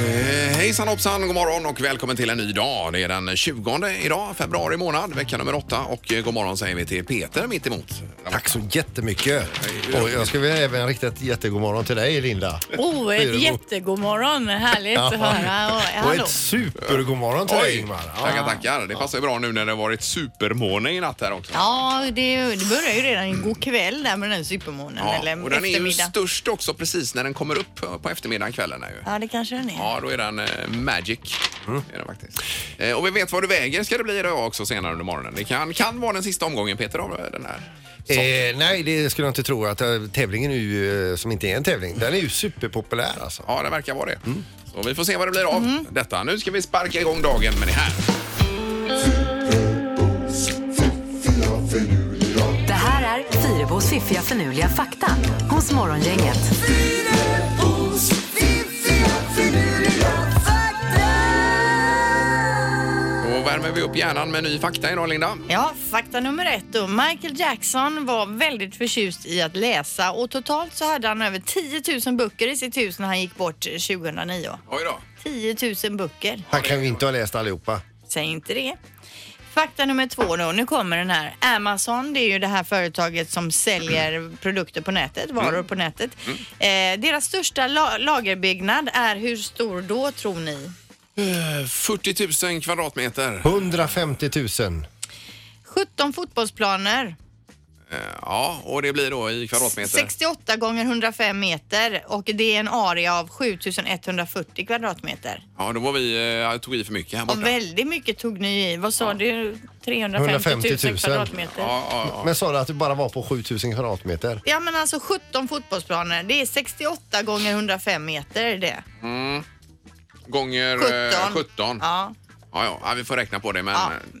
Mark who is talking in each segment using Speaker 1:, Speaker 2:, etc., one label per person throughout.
Speaker 1: Eh, Hejsan hoppsan, god morgon och välkommen till en ny dag. Det är den 20 idag, februari månad, vecka nummer åtta. Och eh, god morgon säger vi till Peter mitt emot.
Speaker 2: Tack så jättemycket. Och jag ska väl även rikta ett jättegod morgon till dig Linda.
Speaker 3: Oh,
Speaker 2: Hej då.
Speaker 3: ett jättegod morgon. Härligt att höra. Och,
Speaker 2: Och
Speaker 3: hallå.
Speaker 2: ett supergod morgon till dig
Speaker 1: Oj!
Speaker 2: Ingmar. Ja.
Speaker 1: Tackar, tackar. Det passar ju bra nu när det har varit supermåne i natt här också.
Speaker 3: Ja, det, det börjar ju redan igår kväll där med den supermånen.
Speaker 1: Ja,
Speaker 3: eller
Speaker 1: och den är ju
Speaker 3: eftermiddag.
Speaker 1: störst också precis när den kommer upp eh, på eftermiddagen, kvällen. Är ju.
Speaker 3: Ja, det kanske den är.
Speaker 1: Ja, då är den eh, magic.
Speaker 2: Mm.
Speaker 1: Är den faktiskt. Eh, och vi vet vad du väger ska det bli idag också senare under morgonen. Det kan, kan vara den sista omgången Peter av eh, den här.
Speaker 2: Eh, nej, det skulle jag inte tro. Att eh, tävlingen är ju, eh, som inte är en tävling, den är ju superpopulär alltså.
Speaker 1: Ja, det verkar vara det. Så vi får se vad det blir av detta. Nu ska vi sparka igång dagen med det här.
Speaker 4: Det här är Fyrabos fiffiga förnuliga fakta hos Morgongänget.
Speaker 1: Då värmer vi upp hjärnan med ny fakta idag, Linda.
Speaker 3: Ja, fakta nummer ett då. Michael Jackson var väldigt förtjust i att läsa och totalt så hade han över 10 000 böcker i sitt hus när han gick bort 2009.
Speaker 1: Oj då.
Speaker 3: 10 000 böcker.
Speaker 2: Han kan ju inte ha läst allihopa.
Speaker 3: Säg inte det. Fakta nummer två då. Nu kommer den här. Amazon, det är ju det här företaget som säljer produkter på nätet, varor på nätet. Eh, deras största la- lagerbyggnad är hur stor då tror ni?
Speaker 1: 40 000 kvadratmeter.
Speaker 2: 150 000.
Speaker 3: 17 fotbollsplaner,
Speaker 1: Eh, Ja, och det blir då i kvadratmeter.
Speaker 3: 68 gånger 105 meter och det är en area av 7140 kvadratmeter.
Speaker 1: Ja, då var vi, eh, tog i för mycket här borta.
Speaker 3: Och väldigt mycket tog ni i. Vad sa du? 350
Speaker 2: 150
Speaker 3: 000
Speaker 2: 000.
Speaker 3: kvadratmeter.
Speaker 1: Ja, ja,
Speaker 2: Men sa du att det bara var på 7000 kvadratmeter?
Speaker 3: Ja men alltså 17 fotbollsplaner, det är 68 gånger 105 meter det.
Speaker 1: ja. Gånger
Speaker 3: 17.
Speaker 1: 17. 17. Ja.
Speaker 3: Ja.
Speaker 1: Ja, ja, vi får räkna på det, men
Speaker 3: Ja.
Speaker 1: eh,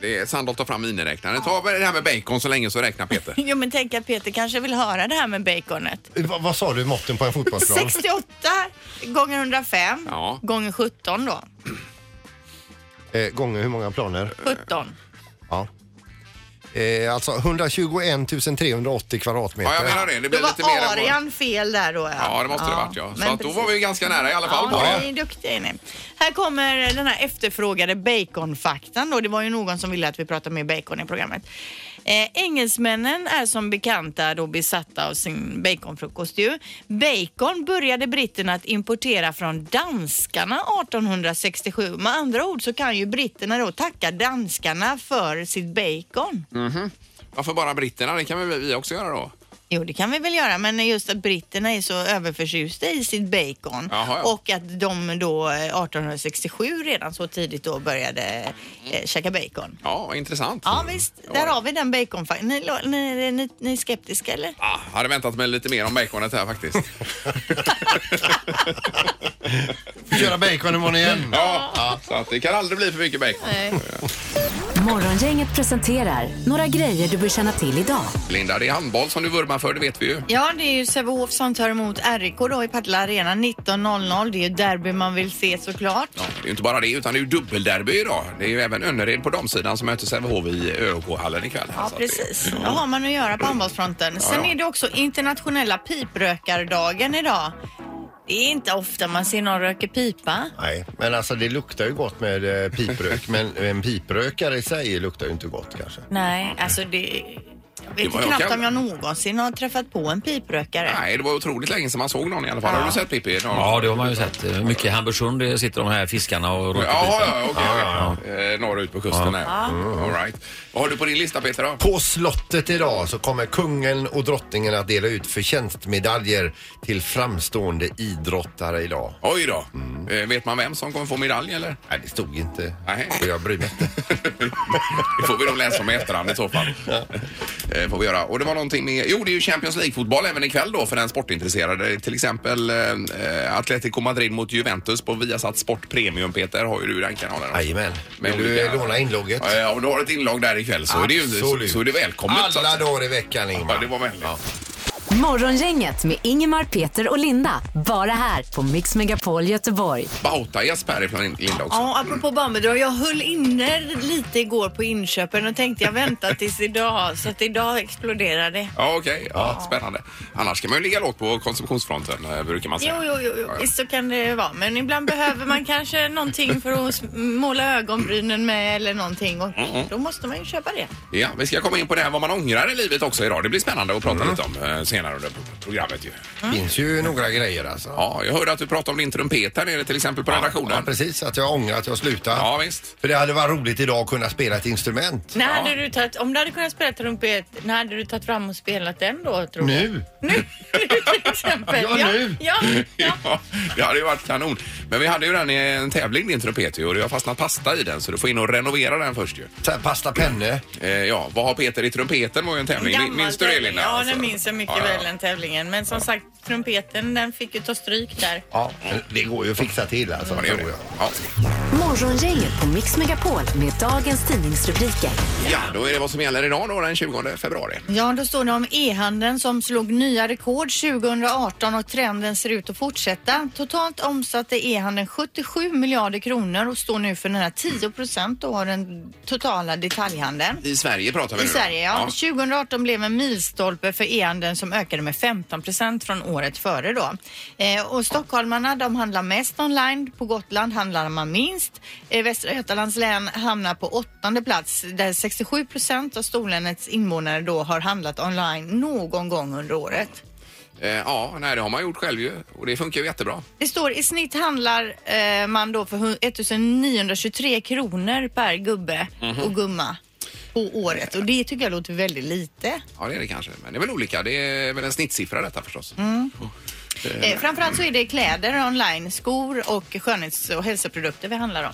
Speaker 1: det är Sandholt tar fram miniräknaren. Ta det här med bacon så länge så räknar Peter.
Speaker 3: Jo men tänk att Peter kanske vill höra det här med baconet.
Speaker 2: Eh, vad- vad sa du måtten på en fotbollsplan?
Speaker 3: 68 gånger 105
Speaker 1: Ja.
Speaker 3: gånger 17 då.
Speaker 2: Eh, gånger hur många planer?
Speaker 3: 17.
Speaker 2: Ja. Eh, alltså 121 380
Speaker 1: Ja, jag
Speaker 2: kvadratmeter.
Speaker 1: menar det. Det
Speaker 3: Då
Speaker 1: blir
Speaker 3: var
Speaker 1: lite mer än vad-
Speaker 3: arean fel där då. Ja,
Speaker 1: Ja, det måste det ha varit ja. Så
Speaker 3: men
Speaker 1: att då
Speaker 3: precis.
Speaker 1: var vi ju ganska nära i alla fall.
Speaker 3: Ja,
Speaker 1: Ja,
Speaker 3: ni är duktiga är ni. Här kommer den här efterfrågade baconfaktan då. Det var ju någon som ville att vi pratade mer bacon i programmet. Eh, engelsmännen är som bekanta då besatta av sin baconfrukost ju. Bacon började britterna att importera från danskarna 1867. Med andra ord så kan ju britterna då tacka danskarna för sitt bacon.
Speaker 1: Varför bara britterna? Det kan väl vi också göra då?
Speaker 3: Jo, det kan vi väl göra, men just att britterna är så överförtjusta i sitt bacon
Speaker 1: Jaha, ja.
Speaker 3: och att de då eh, 1867 redan så tidigt då började eh, käka bacon.
Speaker 1: Ja, vad intressant.
Speaker 3: Ja, visst. Där har vi den bacon. Ni, lo- ni, ni, ni är skeptiska eller?
Speaker 1: Ah, hade väntat mig lite mer om baconet här faktiskt.
Speaker 2: Köra bacon imorgon igen.
Speaker 1: ja, så att det kan aldrig bli för mycket bacon.
Speaker 4: Morgongänget presenterar några grejer du bör känna till idag.
Speaker 1: Linda, det är handboll som du vurmar för, det vet vi ju.
Speaker 3: Ja, det är ju Sävehof som tar emot RIK då i Partille Arena 19.00. Det är ju derby man vill se såklart.
Speaker 1: Ja, det är ju inte bara det, utan det är ju dubbelderby idag. Det är ju även Önnered på damsidan som möter Sävehof i ÖK-hallen ikväll.
Speaker 3: Ja,
Speaker 1: Så att Alltså, det-
Speaker 3: precis. Då har man att göra på handbollsfronten. Sen
Speaker 1: ja.
Speaker 3: är det också internationella piprökardagen idag. Det är inte ofta man ser någon röka pipa.
Speaker 2: Nej, men alltså det luktar ju gott med eh, piprök. men en piprökare i sig luktar ju inte gott kanske.
Speaker 3: Nej, alltså det... Jag vet
Speaker 1: Det var jag
Speaker 3: knappt
Speaker 1: kan-
Speaker 3: om jag någonsin har träffat på en piprökare.
Speaker 1: Nej, det var otroligt länge sedan man såg någon i alla fall. Har du sett Pippi?
Speaker 5: Ja, det har man ju sett. Mycket i Hamburgsund det sitter de här fiskarna och
Speaker 1: Ja,
Speaker 5: runkar
Speaker 1: ja,
Speaker 5: pipor.
Speaker 1: ja, okej. okej. Eh, norrut på kusten här. Mm, All right. Vad har du på din lista Peter då?
Speaker 2: På slottet idag så kommer kungen och drottningen att dela ut förtjänstmedaljer till framstående idrottare idag.
Speaker 1: Oj då. Eh, vet man vem som kommer få medalj eller?
Speaker 2: Nej, det stod inte.
Speaker 1: Nej.
Speaker 2: Och jag bryr mig inte.
Speaker 1: Det får vi nog läsa om i efterhand i så fall. Eh, Får vi göra. Och det var någonting med, jo det är ju Champions League-fotboll även ikväll då för den sportintresserade. Till exempel eh, Atletico Madrid mot Juventus på Viasat Sport Premium Peter har ju du den kanalen också.
Speaker 2: Jajamän.
Speaker 1: Med
Speaker 2: Vill du
Speaker 1: olika-
Speaker 2: låna inlogget?
Speaker 1: Ja, Ja, om du har ett inlogg där ikväll så, är det, ju, så,
Speaker 2: Absolut.
Speaker 1: så är det välkommet. så att
Speaker 2: Alla
Speaker 1: säga.
Speaker 2: dagar i veckan,
Speaker 1: Ja,
Speaker 2: Ingmar.
Speaker 1: det var vänligt.
Speaker 4: Mer Morgongänget med Ingemar, Peter och Linda. Bara här på Mix Megapol Göteborg.
Speaker 1: Bauta-Jesper härifrån Linda också.
Speaker 3: Ja, apropå barnbidrag. Jag höll inne lite igår på inköpen och tänkte jag väntar tills idag. Så att idag exploderar det.
Speaker 1: Ja, okej. Ja, spännande. Annars ska man ju ligga lågt på konsumtionsfronten, eh, brukar man
Speaker 3: Jo,
Speaker 1: säga.
Speaker 3: jo, jo, jo. visst så kan det vara. Men ibland behöver man kanske någonting för att s- måla ögonbrynen med eller någonting. Och
Speaker 1: Mm,
Speaker 3: då måste man ju köpa det.
Speaker 1: Ja, vi ska komma in på det här vad man ångrar i livet också idag. Det blir spännande att
Speaker 2: Mm.
Speaker 1: prata lite om eh, senare under programmet ju.
Speaker 2: finns ju några grejer alltså.
Speaker 1: Ja, jag hörde att du pratade om din trumpet här nere till exempel på
Speaker 2: Ja,
Speaker 1: redaktionen.
Speaker 2: precis. Att jag ångrar att jag slutade.
Speaker 1: Ja, visst.
Speaker 2: För det hade varit roligt idag att kunna spela ett instrument.
Speaker 3: När hade du tagit, om du hade kunnat spela trumpet, när hade du tagit fram och spelat den då? Tror du?
Speaker 2: Nu?
Speaker 3: Nu till exempel.
Speaker 2: Ja, nu.
Speaker 3: Ja, ja.
Speaker 1: Ja, det hade ju varit kanon. Men vi hade ju den i en tävling din trumpet ju och det har fastnat pasta i den så du får in och renovera den först ju.
Speaker 2: Så här, pasta penne.
Speaker 1: Eh, ja, vad har Peter i trumpeten var ju en tävling.
Speaker 3: Gammal
Speaker 1: minns du det
Speaker 3: tävling.
Speaker 1: Linda?
Speaker 3: Ja,
Speaker 1: Alltså.
Speaker 3: den minns jag mycket
Speaker 1: Ja, ja.
Speaker 3: väl den tävlingen. Men som sagt, trumpeten den fick ju ta stryk där.
Speaker 2: Ja, det går ju att fixa till alltså.
Speaker 1: Ja, det gör det.
Speaker 2: tror jag.
Speaker 1: Ja.
Speaker 4: Morgongänget på Mix Megapol med dagens tidningsrubriker.
Speaker 1: ja, då är det vad som gäller idag då den 20 februari.
Speaker 3: Ja, då står det om e-handeln som slog nya rekord 2018 och trenden ser ut att fortsätta. Totalt omsatte e-handeln 77 miljarder kronor och står nu för nära 10 procent av den totala detaljhandeln.
Speaker 1: I Sverige pratar vi
Speaker 3: I
Speaker 1: nu då.
Speaker 3: Sverige, ja. 2018 blev en milstolpe för e-handeln som ökade med 15 procent från året före då. Eh, och stockholmarna de handlar mest online. På Gotland handlar man minst. Eh, Västra Götalands län hamnar på åttonde plats där 67 procent av storlänets invånare då har handlat online någon gång under året.
Speaker 1: Eh, ja, nej, det har man gjort själv ju och det funkar ju jättebra.
Speaker 3: Det står i snitt handlar eh, man då för hu- 1923 kronor per gubbe och gumma på året och det tycker jag låter väldigt lite.
Speaker 1: Ja, det är det kanske. Men det är väl olika. Det är väl en snittsiffra detta förstås.
Speaker 3: Eh, framförallt så är det kläder online, skor och skönhets och hälsoprodukter vi handlar om.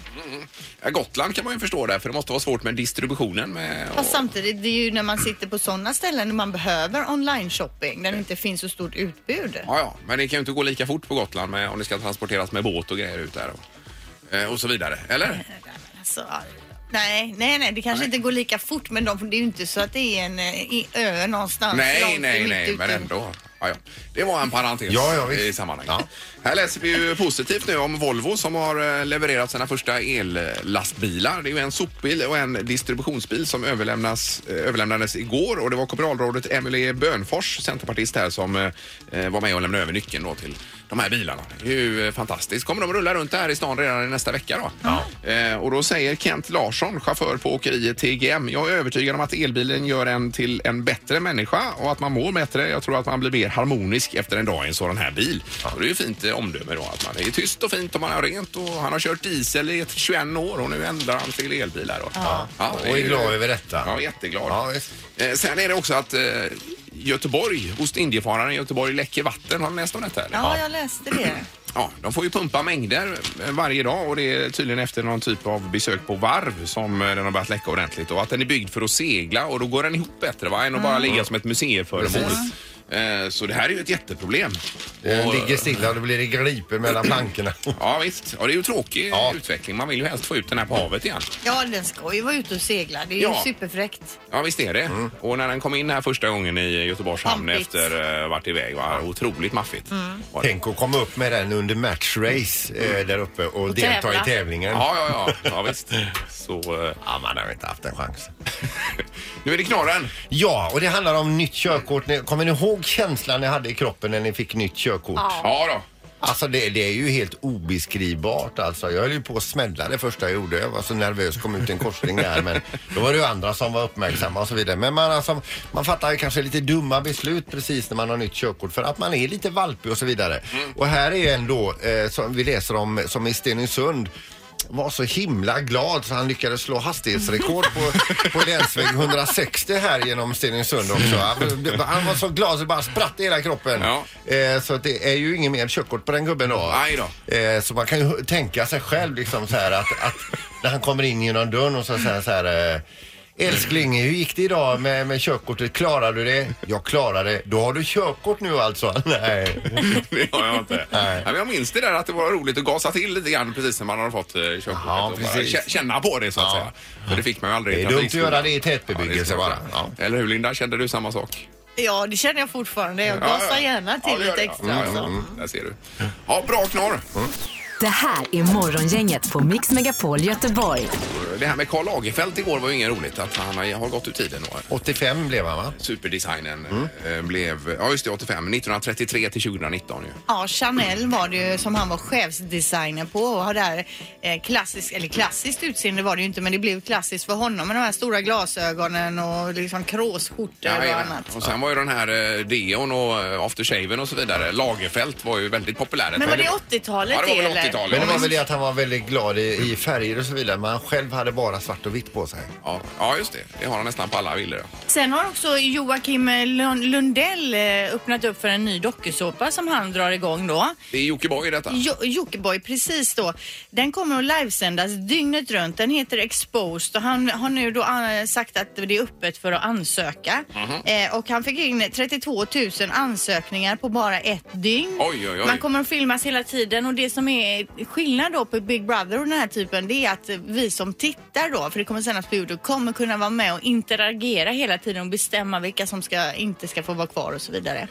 Speaker 1: Ja, Gotland kan man ju förstå där, för det måste vara svårt med distributionen. Med, och,
Speaker 3: Fast samtidigt, det är ju när man sitter på sådana ställen där man behöver online shopping, där det inte finns så stort utbud.
Speaker 1: ja, ja, men det kan ju inte gå lika fort på Gotland med, om det ska transporteras med båt och grejer ut där. Och, eh, och så vidare. Eller?
Speaker 3: Alltså, nej, nej, nej, det kanske inte går lika fort, men de, det är ju inte så att det är en eh, i ö någonstans. långt
Speaker 1: nej,
Speaker 3: i
Speaker 1: nej,
Speaker 3: mitt
Speaker 1: nej,
Speaker 3: ute.
Speaker 1: men ändå. Ja, ja. Det var en parentes
Speaker 2: Ja, ja, visst.
Speaker 1: i sammanhanget.
Speaker 2: Ja.
Speaker 1: Här läser vi ju positivt nu om Volvo som har eh, levererat sina första ellastbilar. Det är ju en sopbil och en distributionsbil som överlämnas, eh, överlämnades igår och det var kommunalrådet Emily Bönfors, centerpartist här, som eh, var med och lämnade över nyckeln då till de här bilarna. Det är ju eh, fantastiskt. Kommer de rulla runt här i stan redan i nästa vecka då? Eh, och då säger Kent Larsson, chaufför på åkeriet TGM, jag är övertygad om att elbilen gör en till en bättre människa och att man mår bättre. Jag tror att man blir mer harmonisk efter en dag i en sådan här bil. Och det är ju fint eh, omdöme då, att man är tyst och fint och man har rent och han har kört diesel i ett 21 år och nu ändrar han till elbilar då. Ja. det
Speaker 2: Och är
Speaker 1: ju-
Speaker 2: glad över detta.
Speaker 1: Ja, jätteglad.
Speaker 2: Ja, visst.
Speaker 1: Eh, sen är det också att eh, Göteborg, Ostindiefararen i Göteborg läcker vatten. Har ni läst om detta? Eller?
Speaker 3: Ja, jag läste det.
Speaker 1: Ja, de får ju pumpa mängder eh, varje dag och det är tydligen efter någon typ av besök på varv som eh, den har börjat läcka ordentligt och att den är byggd för att segla och då går den ihop bättre va? än att bara ligga som ett museiföremål. Eh, Så det här är ju ett jättproblem.
Speaker 2: Den
Speaker 1: Och,
Speaker 2: ligger stilla och då blir det griper mellan plankorna.
Speaker 1: Ja visst, ja, det är ju tråkig
Speaker 2: Ja.
Speaker 1: utveckling. Man vill ju helst få ut den här på havet igen.
Speaker 3: Ja, den ska ju vara ute och segla. Det är
Speaker 1: Ja.
Speaker 3: ju superfräckt.
Speaker 1: Ja visst är det. Och när den kom in här första gången i Göteborgs hamn
Speaker 3: Pampigt.
Speaker 1: efter eh, varit iväg var otroligt maffigt. Var det.
Speaker 2: Tänk att komma upp med den under matchrace eh, där uppe och, delta
Speaker 3: tävla.
Speaker 2: i tävlingen.
Speaker 1: Mm. Ja, ja, ja, ja visst. Så, eh,
Speaker 2: Ja, man har inte haft en chans.
Speaker 1: nu är det knorren.
Speaker 2: Ja, och det handlar om nytt körkort. Ni- Kommer ni ihåg känslan ni hade i kroppen när ni fick nytt körkort?
Speaker 1: Ja då.
Speaker 2: Alltså det, det är ju helt obeskrivbart alltså. Jag höll ju på att smälla det första jag gjorde. Jag var så nervös, kom ut i en korsning där. Men då var det ju andra som var uppmärksamma och så vidare. Men man, alltså, man fattar ju kanske lite dumma beslut precis när man har nytt körkort för att man är lite valpig och så vidare. Och här är en då, eh, som vi läser om, som i Stenungsund var så himla glad så han lyckades slå hastighetsrekord på, på länsväg 160 här genom Stenungsund också. Han, han var så glad så det bara spratt i hela kroppen.
Speaker 1: Ja.
Speaker 2: Eh, så att det är ju ingen mer körkort på den gubben då.
Speaker 1: Aj då.
Speaker 2: Eh, så man kan ju tänka sig själv liksom så här att, att när han kommer in genom dörren och så säger han så här eh, Älskling, hur gick det idag med, med körkortet? Klarade du det? Jag klarade det. Då har du körkort nu alltså? Nej.
Speaker 1: Det har jag inte. Nej. men jag minns det där att det var roligt att gasa till lite grann precis när man har fått eh, körkortet.
Speaker 2: Ja,
Speaker 1: och bara
Speaker 2: precis.
Speaker 1: kä- känna på det så att
Speaker 2: Ja.
Speaker 1: säga. För det fick man ju aldrig i
Speaker 2: Det är dumt att
Speaker 1: trafikskolan.
Speaker 2: göra det i tätbebyggelse
Speaker 1: Ja, det är svårt.
Speaker 2: bara. Ja.
Speaker 1: Eller hur Linda, kände du samma sak?
Speaker 3: Ja, det känner jag fortfarande. Jag gasar gärna till
Speaker 1: Ja, det gör
Speaker 3: lite
Speaker 1: det.
Speaker 3: extra.
Speaker 1: Ja,
Speaker 3: alltså.
Speaker 1: ja, mm, där ser du. Ja, bra knorr.
Speaker 4: Det här är Morgongänget på Mix Megapol Göteborg.
Speaker 1: Det här med Karl Lagerfeld igår var ju inget roligt. Att han har- har gått ur tiden. då.
Speaker 2: 85 blev han va?
Speaker 1: Superdesignen
Speaker 2: Mm.
Speaker 1: eh, blev, ja just det, 85. 1933 till 2019 ju.
Speaker 3: Ja, Chanel var det ju som han var chefsdesigner på och har där eh, klassiskt, eller klassiskt utseende var det ju inte men det blev klassiskt för honom med de här stora glasögonen och liksom kråsskjortor och
Speaker 1: Jajamän.
Speaker 3: annat.
Speaker 1: och sen var ju den här eh, Deon och eh, aftershaven och så vidare. Lagerfeld var ju väldigt populär. ett
Speaker 3: Men var
Speaker 1: tag.
Speaker 3: det 80-talet
Speaker 1: Ja, det var väl
Speaker 3: eller?
Speaker 1: 80-talet.
Speaker 2: Men det
Speaker 1: ja,
Speaker 2: var väl
Speaker 1: visst.
Speaker 2: det att han var väldigt glad i, i färger och så vidare men han själv hade bara svart och vitt på sig.
Speaker 1: Ja, ja, just det. Det har han nästan på alla bilder. ja.
Speaker 3: Sen har också Joakim eh, Lund- Lundell eh, öppnat upp för en ny dokusåpa som han drar igång då.
Speaker 1: Det är Jockiboi detta.
Speaker 3: Jo- Jockiboi, precis då. Den kommer att livesändas dygnet runt. Den heter Exposed och han har nu då eh, sagt att det är öppet för att ansöka.
Speaker 1: Mhm.
Speaker 3: eh, och han fick in 32 000 ansökningar på bara ett dygn.
Speaker 1: Oj, oj, oj.
Speaker 3: Man kommer att filmas hela tiden och det som är skillnad då på Big Brother och den här typen det är att vi som tittar då, för det kommer sändas på Youtube, kommer kunna vara med och interagera hela tiden och bestämma vilka som ska, inte ska få vara kvar och så vidare.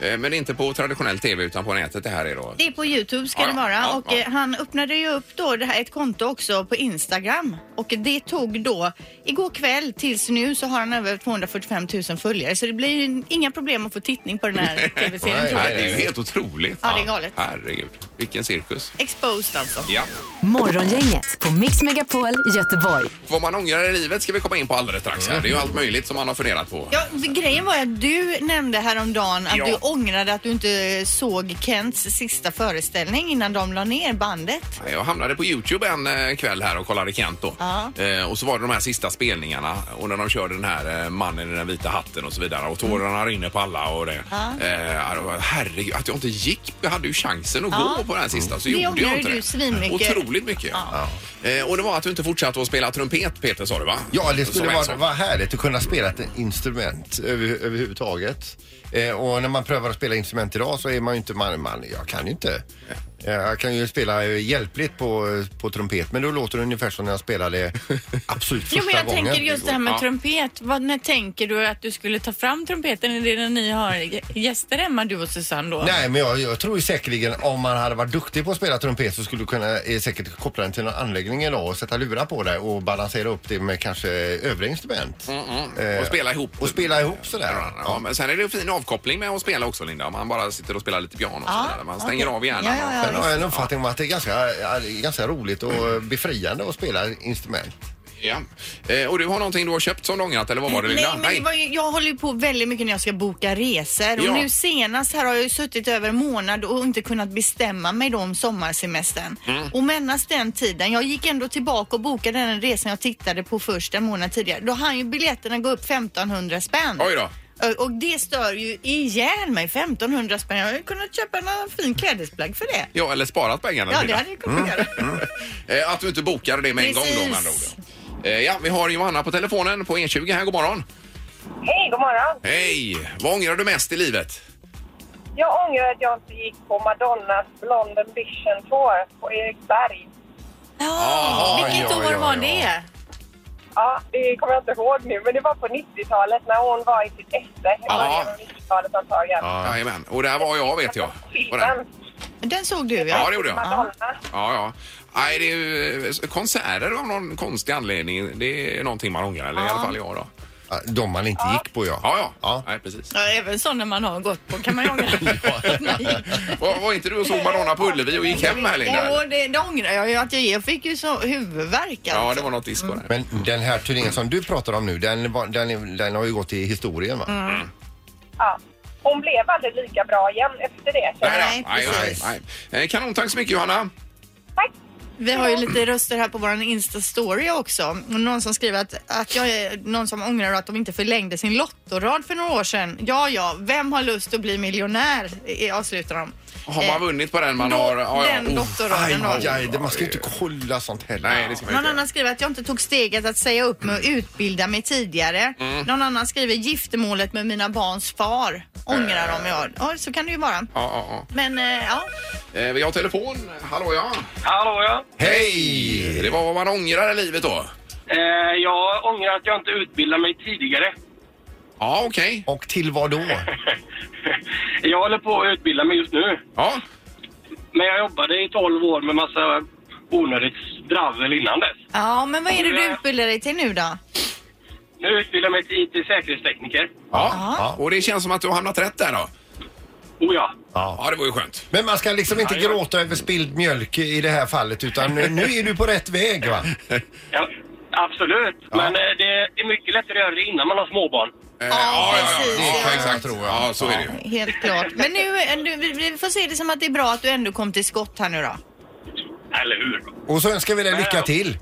Speaker 1: Ja. Eh, Men inte på traditionell tv utan på nätet det här är då.
Speaker 3: Det är på Youtube ska
Speaker 1: Ja,
Speaker 3: det
Speaker 1: ja,
Speaker 3: vara
Speaker 1: ja,
Speaker 3: och
Speaker 1: ja.
Speaker 3: eh, han öppnade ju upp då det här, ett konto också på Instagram och det tog då igår kväll tills nu så har han över 245 000 följare så det blir ju inga problem att få tittning på den här tv-serien
Speaker 2: Nej,
Speaker 3: tror
Speaker 1: Nej, det
Speaker 3: jag.
Speaker 1: är ju helt otroligt.
Speaker 3: Ja, det är galet.
Speaker 1: Herregud, vilken cirkus.
Speaker 3: Exposed alltså.
Speaker 1: Ja.
Speaker 4: Morgongänget på Mix Megapol Göteborg.
Speaker 1: Vad man ångrar i livet ska vi komma in på alldeles strax. Här. Det är ju allt möjligt som man har funderat på.
Speaker 3: Ja, grejen var ju att du nämnde häromdagen att
Speaker 1: Ja.
Speaker 3: du ångrade att du inte såg Kents sista föreställning innan de la ner bandet.
Speaker 1: Eh, Jag hamnade på Youtube en eh, kväll här och kollade Kent då.
Speaker 3: Ja.
Speaker 1: Eh, och så var det de här sista spelningarna och när de körde den här eh, mannen i den vita hatten och så vidare och tårarna rinner på alla och det.
Speaker 3: Mm. Ja.
Speaker 1: Eh, ja, det var- herregud, att jag inte gick. Jag hade ju chansen att
Speaker 3: Ja.
Speaker 1: gå på den här sista så
Speaker 3: Det
Speaker 1: gjorde
Speaker 3: ångrar
Speaker 1: jag
Speaker 3: ju
Speaker 1: inte
Speaker 3: du
Speaker 1: det.
Speaker 3: svinmycket.
Speaker 1: Otroligt mycket. Eh, och det var att du inte fortsatte att spela trumpet Peter sa du va?
Speaker 2: Ja, det
Speaker 1: Som
Speaker 2: skulle
Speaker 1: en
Speaker 2: vara,
Speaker 1: sak.
Speaker 2: vara härligt att kunna spela ett instrument över, överhuvudtaget. Eh, och när man prövar att spela instrument idag så är man ju inte man, man jag kan ju inte. Eh, jag kan ju spela eh, hjälpligt på, på trumpet men då låter det ungefär som när jag spelade absolut första
Speaker 3: Jo men jag
Speaker 2: gången.
Speaker 3: tänker just det här med
Speaker 1: Ja.
Speaker 3: trumpet. Vad, när tänker du att du skulle ta fram trumpeten? Är det när ni har gä- gäster hemma du och Susanne då?
Speaker 2: Nej, men jag, jag tror ju säkerligen om man hade varit duktig på att spela trumpet så skulle du kunna eh, säkert koppla den till någon anläggning idag och sätta lurar på det och balansera upp det med kanske övriga instrument.
Speaker 1: Och spela ihop.
Speaker 2: Eh, Och spela ihop sådär. va?
Speaker 1: Mm. Ja, men sen är det ju fin avkoppling med att spela också Linda. Man bara sitter och spelar lite piano och
Speaker 3: Ja,
Speaker 1: sådär. Man stänger
Speaker 3: okej.
Speaker 1: av hjärnan.
Speaker 3: Ja, ja,
Speaker 2: Sen har jag en uppfattning om att det är ganska, ja, det är ganska roligt och eh, befriande att spela instrument.
Speaker 1: Ja. Eh, och du har någonting du har köpt som du ångrat eller vad var det
Speaker 3: Nej,
Speaker 1: Linda?
Speaker 3: men det var ju, jag håller ju på väldigt mycket när jag ska boka resor
Speaker 1: Ja.
Speaker 3: och nu senast här har jag ju suttit över en månad och inte kunnat bestämma mig då om sommarsemestern. Och medan den tiden, jag gick ändå tillbaka och bokade den resan jag tittade på först en månad tidigare, då hann ju biljetterna gå upp 1500 spänn.
Speaker 1: Oj då.
Speaker 3: Ö, Och det stör ju ihjäl mig. 1500 spänn. Jag hade ju kunnat köpa en fin klädesplagg för det.
Speaker 1: Ja, eller sparat pengarna.
Speaker 3: Ja, det
Speaker 1: Linda.
Speaker 3: hade jag kunnat göra.
Speaker 1: Eh, Att du inte bokade det med en
Speaker 3: Precis.
Speaker 1: gång då med andra ord. ja. Eh, Ja, vi har Johanna på telefonen på E20 här. God morgon.
Speaker 6: Hej, god morgon.
Speaker 1: Hej! Vad ångrar du mest i livet?
Speaker 6: Jag ångrar att jag inte gick på Madonnas Blond Ambition Tour på Eriksberg.
Speaker 3: Ja, vilket
Speaker 2: ja,
Speaker 3: år
Speaker 2: ja,
Speaker 3: var
Speaker 2: ja.
Speaker 3: det?
Speaker 6: Ja, det kommer jag inte ihåg nu, men det var på 90-talet när hon var i sitt esse. I
Speaker 1: Ja.
Speaker 6: början av 90-talet antagligen.
Speaker 1: Jajamän. Och där var jag vet jag. På den.
Speaker 6: Filmen,
Speaker 3: Den såg du ja.
Speaker 1: Ja, det gjorde jag.
Speaker 6: Madonna.
Speaker 1: Ja, ja. Nej, det är ju konserter av någon konstig anledning. Det är någonting man ångrar, eller i alla fall jag då.
Speaker 2: Ja, De man inte gick på ja.
Speaker 1: Ja, ja.
Speaker 2: Ja.
Speaker 1: Nej, precis.
Speaker 3: Ja, även sådana man har gått på kan man ju ångra. Nej.
Speaker 1: Var, var inte du och såg Madonna på Ullevi och gick hem här Linda?
Speaker 3: Och det, det ångrar jag ju att jag, jag fick ju så huvudvärk
Speaker 1: Ja, det
Speaker 3: alltså.
Speaker 1: var något disco där.
Speaker 2: Men den här turnén som du pratar om nu, den, var- den, är- den har ju gått i historien va?
Speaker 6: Ja. Hon blev aldrig lika bra igen efter det. Så
Speaker 3: Nej,
Speaker 1: då. nej,
Speaker 3: precis.
Speaker 1: nej, nej. Eh, Kanon, tack så mycket Johanna.
Speaker 6: tack.
Speaker 3: Vi har ju lite röster här på vår Insta-story också. Och Någon som skriver att, att jag är någon som ångrar att de inte förlängde sin lottorad för några år sedan. Ja, ja, vem har lust att bli miljonär? I- Avslutar de.
Speaker 1: Har
Speaker 3: Eh,
Speaker 1: man vunnit på den man
Speaker 3: då-
Speaker 1: har... ja, ja.
Speaker 3: den
Speaker 1: Oh,
Speaker 3: lottoraden då.
Speaker 1: aj, aj,
Speaker 2: Aj, det, man ska ju inte kolla sånt heller.
Speaker 1: Nej, det ska man
Speaker 3: Någon
Speaker 1: inte göra.
Speaker 3: annan skriver att jag inte tog steget att säga upp mig och utbilda mig tidigare.
Speaker 1: Mm.
Speaker 3: Någon annan skriver giftermålet med mina barns far. Ångrar om jag. Ja, så kan det ju vara.
Speaker 1: Ja, ja, ja.
Speaker 3: Men eh, ja,
Speaker 1: Eh, Vi har telefon. Hallå ja. Eh,
Speaker 7: Hallå ja.
Speaker 2: Hej!
Speaker 1: Det var vad man ångrar i livet då.
Speaker 7: Eh, jag ångrar att jag inte utbildade mig tidigare.
Speaker 1: Ja, okej.
Speaker 2: Och till vad då?
Speaker 7: Jag håller på att utbilda mig just nu.
Speaker 1: Ja.
Speaker 7: Men jag jobbade i 12 år med massa onödigt dravel innan dess.
Speaker 3: Ja, men vad är det du utbildar dig till nu då?
Speaker 7: Nu utbildar jag mig till IT-säkerhetstekniker.
Speaker 1: Ja. Och det känns som att du har hamnat rätt där då.
Speaker 7: Oh ja.
Speaker 1: Ja, det var ju skönt.
Speaker 2: Men man ska liksom inte gråta över spilld mjölk i det här fallet utan nu är du på rätt väg va?
Speaker 7: ja absolut. Men eh, det är mycket lättare att göra det innan man har småbarn.
Speaker 1: Eh,
Speaker 3: precis,
Speaker 1: Ja,
Speaker 3: ja.
Speaker 1: exakt. Tror jag. Ja, så är det ju.
Speaker 3: Helt klart. Men nu, eh, du- vi- vi får se det som att det är bra att du ändå kom till skott här nu då.
Speaker 7: Eller hur?
Speaker 2: Och så önskar vi dig lycka till.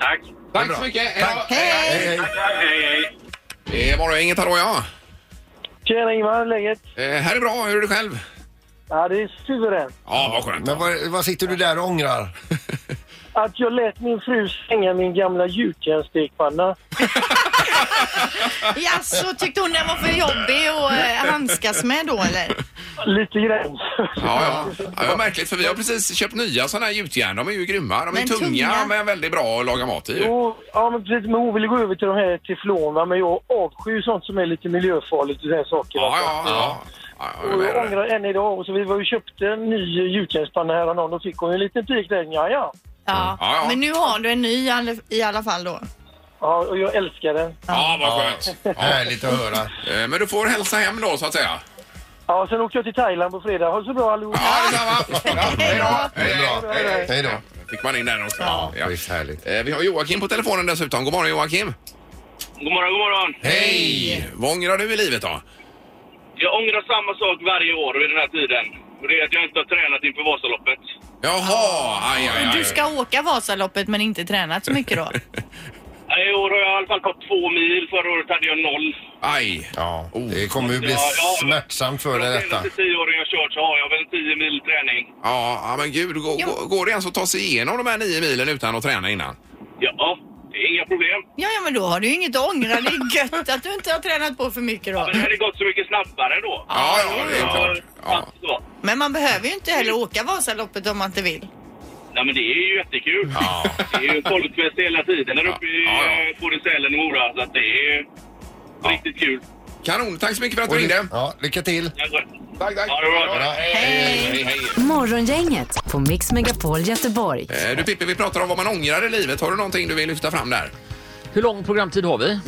Speaker 7: Tack.
Speaker 1: Tack så mycket. Hej då.
Speaker 3: Hej!
Speaker 2: Hej, hej.
Speaker 7: Hej, hej.
Speaker 1: Det var det inget hallå ja.
Speaker 8: Tjena Ingmar, läget?
Speaker 1: Eh, här är bra, hur är du själv?
Speaker 8: Ja, det är suveränt.
Speaker 1: Ja, vad skönt.
Speaker 2: Men vad, vad sitter du där och ångrar?
Speaker 8: Att jag lät min fru slänga min gamla gjutjärnsstekpanna.
Speaker 3: Jaså, tyckte hon den var för jobbig att eh, handskas med då eller?
Speaker 8: Lite grann.
Speaker 1: Ja, ja. ja, det var märkligt för vi har precis köpt nya sådana här gjutjärn. De är ju grymma. De är
Speaker 3: Men
Speaker 1: tunga,
Speaker 3: tunga.
Speaker 1: men väldigt bra att laga mat i. ju.
Speaker 8: Och, ja, men precis. Men hon ville gå över till de här teflon, va? men jag avskyr sånt som är lite miljöfarligt och sådana saker. va?
Speaker 1: Ja, ja, ja. ja. jag är
Speaker 8: Och
Speaker 1: med
Speaker 8: jag
Speaker 1: dig.
Speaker 8: ångrar än idag. Och så vi var och köpte en ny gjutjärnspanna häromdagen. Då fick hon en liten pik där. Ja, ja.
Speaker 1: Ja,
Speaker 3: Ja,
Speaker 1: ja.
Speaker 3: men nu har du en ny i alla- i alla fall då.
Speaker 8: Ja, och jag älskar den.
Speaker 1: Ja, vad skönt.
Speaker 2: Härligt att höra.
Speaker 1: Eh, Men du får hälsa hem då, så att säga.
Speaker 8: Ja, sen åker jag till Thailand på fredag. Ha det så bra allihop.
Speaker 1: Ja, detsamma. Ja, Hej då.
Speaker 2: Det är bra. Hej då.
Speaker 1: fick man in den också.
Speaker 2: Ja,
Speaker 1: Ja.
Speaker 2: visst härligt.
Speaker 1: Eh, Vi har Joakim på telefonen dessutom. God morgon Joakim.
Speaker 7: God morgon, god morgon.
Speaker 1: Hej! Vad ångrar du i livet då?
Speaker 7: Jag ångrar samma sak varje år vid den här tiden. Och det är att jag inte har tränat inför Vasaloppet.
Speaker 1: Jaha, aj, aj, aj.
Speaker 3: Du ska åka Vasaloppet men inte tränat så mycket då?
Speaker 7: I år har jag i alla fall gått två mil. Förra året hade jag noll.
Speaker 1: Aj.
Speaker 2: Ja, det kommer ju bli
Speaker 7: Ja, ja.
Speaker 2: smärtsamt för dig
Speaker 7: De
Speaker 2: detta.
Speaker 7: senaste tio åren jag kört så har jag väl tio mil träning.
Speaker 1: Ja, ja, men gud. Går, går- går det ens att ta sig igenom de här nio milen utan att träna innan?
Speaker 7: Ja, det är inga problem.
Speaker 3: Ja, ja, men då har du ju inget att ångra. Det är gött att du inte har tränat på för mycket då.
Speaker 7: Men det hade gått så mycket snabbare då.
Speaker 1: Ja, ja, det är klart. Ja.
Speaker 7: Ja.
Speaker 3: Men man behöver ju inte heller åka Vasaloppet om man inte vill.
Speaker 7: Nej, men det är ju jättekul.
Speaker 1: Ja.
Speaker 7: Det är ju en folkfest hela tiden där uppe i
Speaker 1: Ja, ja.
Speaker 7: eh, både Sälen och Mora. Så att det är ju riktigt kul.
Speaker 1: Kanon. Tack så mycket för att
Speaker 2: Och
Speaker 1: du
Speaker 2: ly-
Speaker 1: ringde.
Speaker 2: Ja, lycka till.
Speaker 1: Tack, tack.
Speaker 7: Ja, det var bra.
Speaker 1: Hej, hej.
Speaker 4: Morgongänget på Mix Megapol Göteborg.
Speaker 1: Eh, Du Pippi, vi pratar om vad man ångrar i livet. Har du någonting du vill lyfta fram där?
Speaker 9: Hur lång programtid har vi?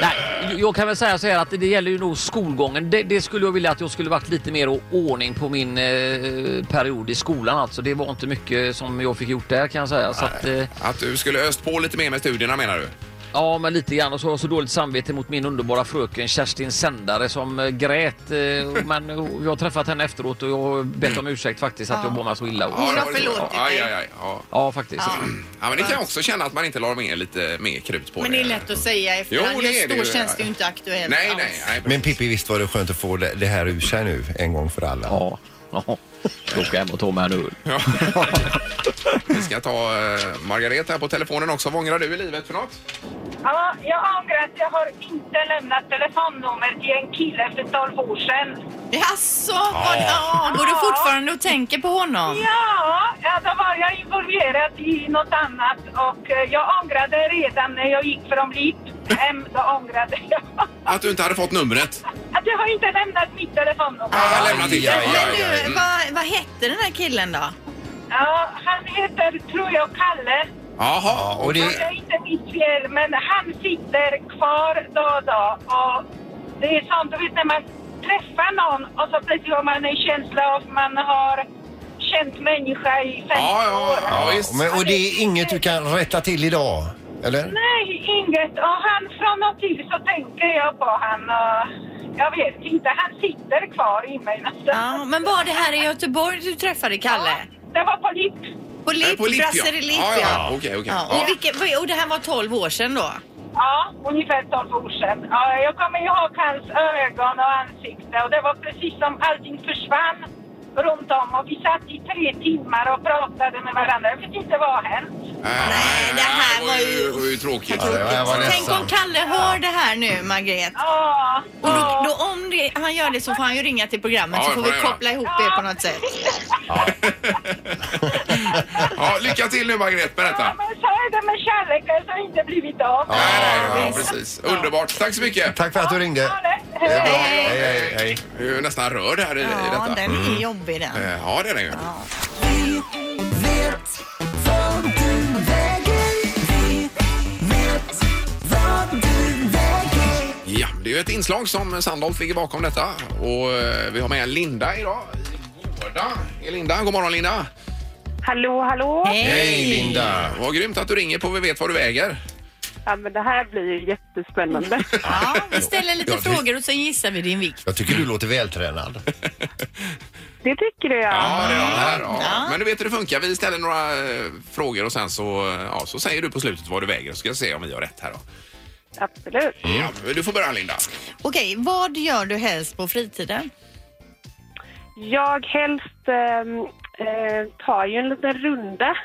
Speaker 9: Nej, jag kan väl säga så här att det gäller ju nog skolgången. Det, det skulle jag vilja att jag skulle varit lite mer å- ordning på min eh, period i skolan alltså. Det var inte mycket som jag fick gjort där kan jag säga. Så att, eh,
Speaker 1: Att du skulle öst på lite mer med studierna menar du?
Speaker 9: ja, men lite grann. Och så har jag så dåligt samvete mot min underbara fröken Kerstin Sändare som eh, grät. Eh, men eh, jag har träffat henne efteråt och jag har bett om ursäkt faktiskt att jag mår så illa.
Speaker 1: Ja,
Speaker 3: har
Speaker 1: det var det.
Speaker 3: förlåtit
Speaker 1: Ja, aj,
Speaker 3: dig.
Speaker 1: aj, aj. Ja.
Speaker 9: Ja, faktiskt.
Speaker 1: ja, men det kan jag också känna att man inte la med lite mer krut på
Speaker 3: Men det är lätt att säga i efterhand.
Speaker 1: Jo, det är
Speaker 3: Just
Speaker 1: det
Speaker 3: då
Speaker 1: ju.
Speaker 3: känns det ju inte aktuellt
Speaker 1: Nej,
Speaker 3: alls.
Speaker 1: nej, nej.
Speaker 2: Men Pippi, visst var det skönt att få det, det här ur sig nu en gång för alla?
Speaker 9: Ja, ja. Jag ska hem och ta mig en öl.
Speaker 1: Vi ska ta eh, Margareta här på telefonen också. Vad ångrar du i livet för något?
Speaker 6: Ja, jag ångrar att jag har inte lämnat telefonnummer till en kille för 12 år sedan.
Speaker 3: Jaså, vad, ja, går du fortfarande och tänker på honom?
Speaker 6: Ja, ja, då var jag involverad i något annat och eh, jag ångrade redan när jag gick från LIP hem, då ångrade jag
Speaker 1: Att du inte hade fått numret?
Speaker 6: att jag har inte lämnat mitt telefonnummer.
Speaker 1: Ah, lämna till.
Speaker 2: Aj, aj,
Speaker 3: Men du,
Speaker 1: Mm.
Speaker 3: vad, vad hette den här killen då?
Speaker 6: Ja, han heter, tror jag, Kalle.
Speaker 1: Jaha,
Speaker 2: Ja, och det-
Speaker 6: Det är inte mitt fel, men han sitter kvar då och då. Och det är sånt, du vet när man träffar någon och så plötsligt har man en känsla av att man har känt människa i 50
Speaker 1: Ja, ja,
Speaker 6: år.
Speaker 1: ja, visst.
Speaker 2: Men, och det är inget du kan rätta till idag? Eller?
Speaker 6: Nej, inget. Och han från och till så tänker jag på han. Och jag vet inte, han sitter kvar i mig
Speaker 3: Ja,
Speaker 6: någonstans.
Speaker 3: men var det här i Göteborg du träffade Kalle?
Speaker 6: Det var på LIP.
Speaker 3: På
Speaker 1: Eh,
Speaker 3: LIP,
Speaker 1: på Lipp, ja.
Speaker 3: Brasserie Lipp
Speaker 1: Ja,
Speaker 3: ja.
Speaker 1: ja, okej, okej.
Speaker 3: Ja,
Speaker 1: Ja.
Speaker 3: Och, vilket, och det här var 12 år sedan då?
Speaker 6: Ja, ungefär 12 år sedan. Ja, jag kommer ihåg hans ögon och ansikte och det var precis som allting försvann runt om och vi satt i tre timmar och pratade med varandra. Jag vet inte vad hänt.
Speaker 3: Nej, det här var ju-
Speaker 1: var ju tråkigt.
Speaker 2: Ja, det var- jag var
Speaker 3: Tänk om
Speaker 2: ledsen.
Speaker 3: Kalle hör det här nu, Margret.
Speaker 6: Ja,
Speaker 3: Och då, då om det, han gör det så får han ju ringa till programmet
Speaker 1: Ja,
Speaker 3: så
Speaker 1: det
Speaker 3: får
Speaker 1: får
Speaker 3: vi
Speaker 1: han göra.
Speaker 3: koppla ihop er på något sätt.
Speaker 1: Ja, lycka till nu Margret,
Speaker 6: ja,
Speaker 1: berätta.
Speaker 6: men så är det med kärleken som inte blivit av.
Speaker 1: Nej, nej, ja, precis. Underbart. Tack så mycket.
Speaker 2: Tack för att du ringde.
Speaker 6: Ha det. Hej.
Speaker 2: Ja, hej, hej, hej.
Speaker 1: Jag är ju nästan rörd här i, i
Speaker 3: Ja,
Speaker 1: detta.
Speaker 3: den är jobbig den.
Speaker 1: Eh, Ja, det är den ju. Ja, det är ju ett inslag som Sandholt ligger bakom detta. Och eh, vi har med Linda idag. i Gårda. Hej, Linda, god morgon Linda!
Speaker 6: Hallå, hallå.
Speaker 1: Hej Linda! Vad grymt att du ringer på Vi vet vad du väger.
Speaker 6: Ja, men det här blir ju jättespännande.
Speaker 3: Ja, vi ställer lite
Speaker 1: Ja, det-
Speaker 3: frågor och sen gissar vi din vikt.
Speaker 2: Jag tycker du låter vältränad.
Speaker 6: Det tycker jag.
Speaker 1: Ja, det är det här. Mm. Ja. Men du vet hur det funkar. Vi ställer några eh, frågor och sen så, eh, ja, så säger du på slutet vad du väger. Så ska jag se om vi har rätt här då.
Speaker 6: Absolut.
Speaker 1: Ja, du får börja Linda.
Speaker 3: Okej, vad gör du helst på fritiden?
Speaker 6: Jag helst ehm, eh, tar ju en liten runda.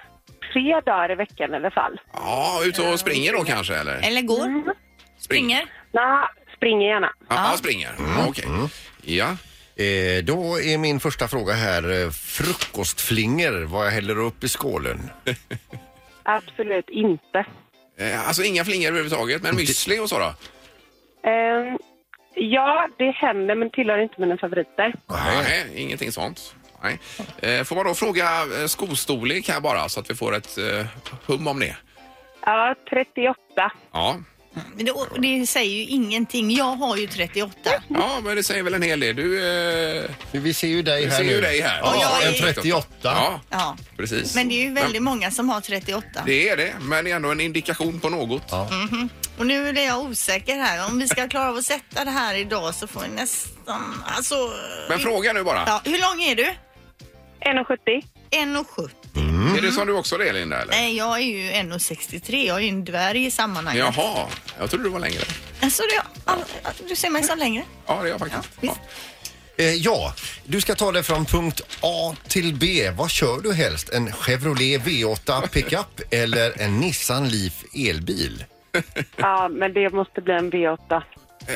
Speaker 6: Tre dagar i veckan i alla fall.
Speaker 1: Ja, ut och springer då kanske eller?
Speaker 3: Eller går?
Speaker 1: Mm.
Speaker 3: Springer?
Speaker 6: Nå, springer gärna.
Speaker 1: Ja, ja, springer. Mm. Okej. Ja.
Speaker 2: Eh, då är min första fråga här eh, frukostflingor, vad jag häller upp i skålen.
Speaker 6: Absolut inte.
Speaker 1: Eh, Alltså inga flingor överhuvudtaget, men müsli och så då?
Speaker 6: Ehm, ja, det händer men tillhör inte mina favoriter.
Speaker 1: Nej, ingenting sånt. Nej. Eh, Får man då fråga eh, skostorlek här bara så att vi får ett eh, hum om det?
Speaker 6: Ja, 38.
Speaker 1: Ja.
Speaker 3: Men det, det säger ju ingenting. Jag har ju 38.
Speaker 1: ja, men det säger väl en hel del. Du, eh,
Speaker 2: Vi ser ju dig
Speaker 1: vi
Speaker 2: här
Speaker 1: ser
Speaker 2: nu.
Speaker 1: ju dig här.
Speaker 2: Ja,
Speaker 3: jag
Speaker 2: en
Speaker 3: är-
Speaker 2: 38.
Speaker 1: Ja,
Speaker 3: Ja,
Speaker 1: precis.
Speaker 3: men det är ju väldigt många som har 38.
Speaker 1: Det är det, men det är ändå en indikation på något. Ja,
Speaker 3: Och nu är jag osäker här. Om vi ska klara av att sätta det här idag så får vi nästan... Alltså...
Speaker 1: men fråga nu bara.
Speaker 3: Ja, hur lång är du?
Speaker 6: 1,70.
Speaker 3: 1,70.
Speaker 1: Är det som du också är Linda? Eller?
Speaker 3: Mm. Nej, jag är ju 1,63. Jag är ju en dvärg i sammanhanget.
Speaker 1: Jaha, jag trodde du var längre.
Speaker 3: Alltså, det, all, du ser mig som längre.
Speaker 1: Ja, det är jag faktiskt. Ja,
Speaker 3: visst.
Speaker 2: Eh, ja, du ska ta det från punkt A till B. Vad kör du helst? En Chevrolet V8 pickup eller en Nissan Leaf elbil?
Speaker 6: Ja, men det måste bli en V8.
Speaker 1: Eh,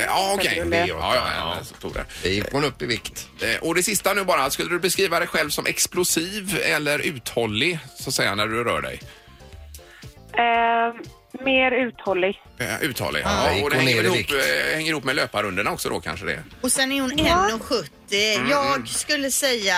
Speaker 1: ja okej.
Speaker 6: Chevrolet.
Speaker 1: Ja, ja, ja, så tog det.
Speaker 2: Det gick hon upp i vikt.
Speaker 1: Eh, Och det sista nu bara, skulle du beskriva dig själv som explosiv eller uthållig så att säga när du rör dig?
Speaker 6: Ehm, mer uthållig.
Speaker 1: Eh, Uthållig,
Speaker 2: Ja,
Speaker 1: ja.
Speaker 2: gick
Speaker 1: Och det
Speaker 2: hon
Speaker 1: hänger
Speaker 2: ner i
Speaker 1: ihop,
Speaker 2: vikt.
Speaker 1: eh, hänger ihop med löparrundorna också då kanske det?
Speaker 3: Och sen är hon 1,70.
Speaker 1: Mm.
Speaker 3: Jag skulle säga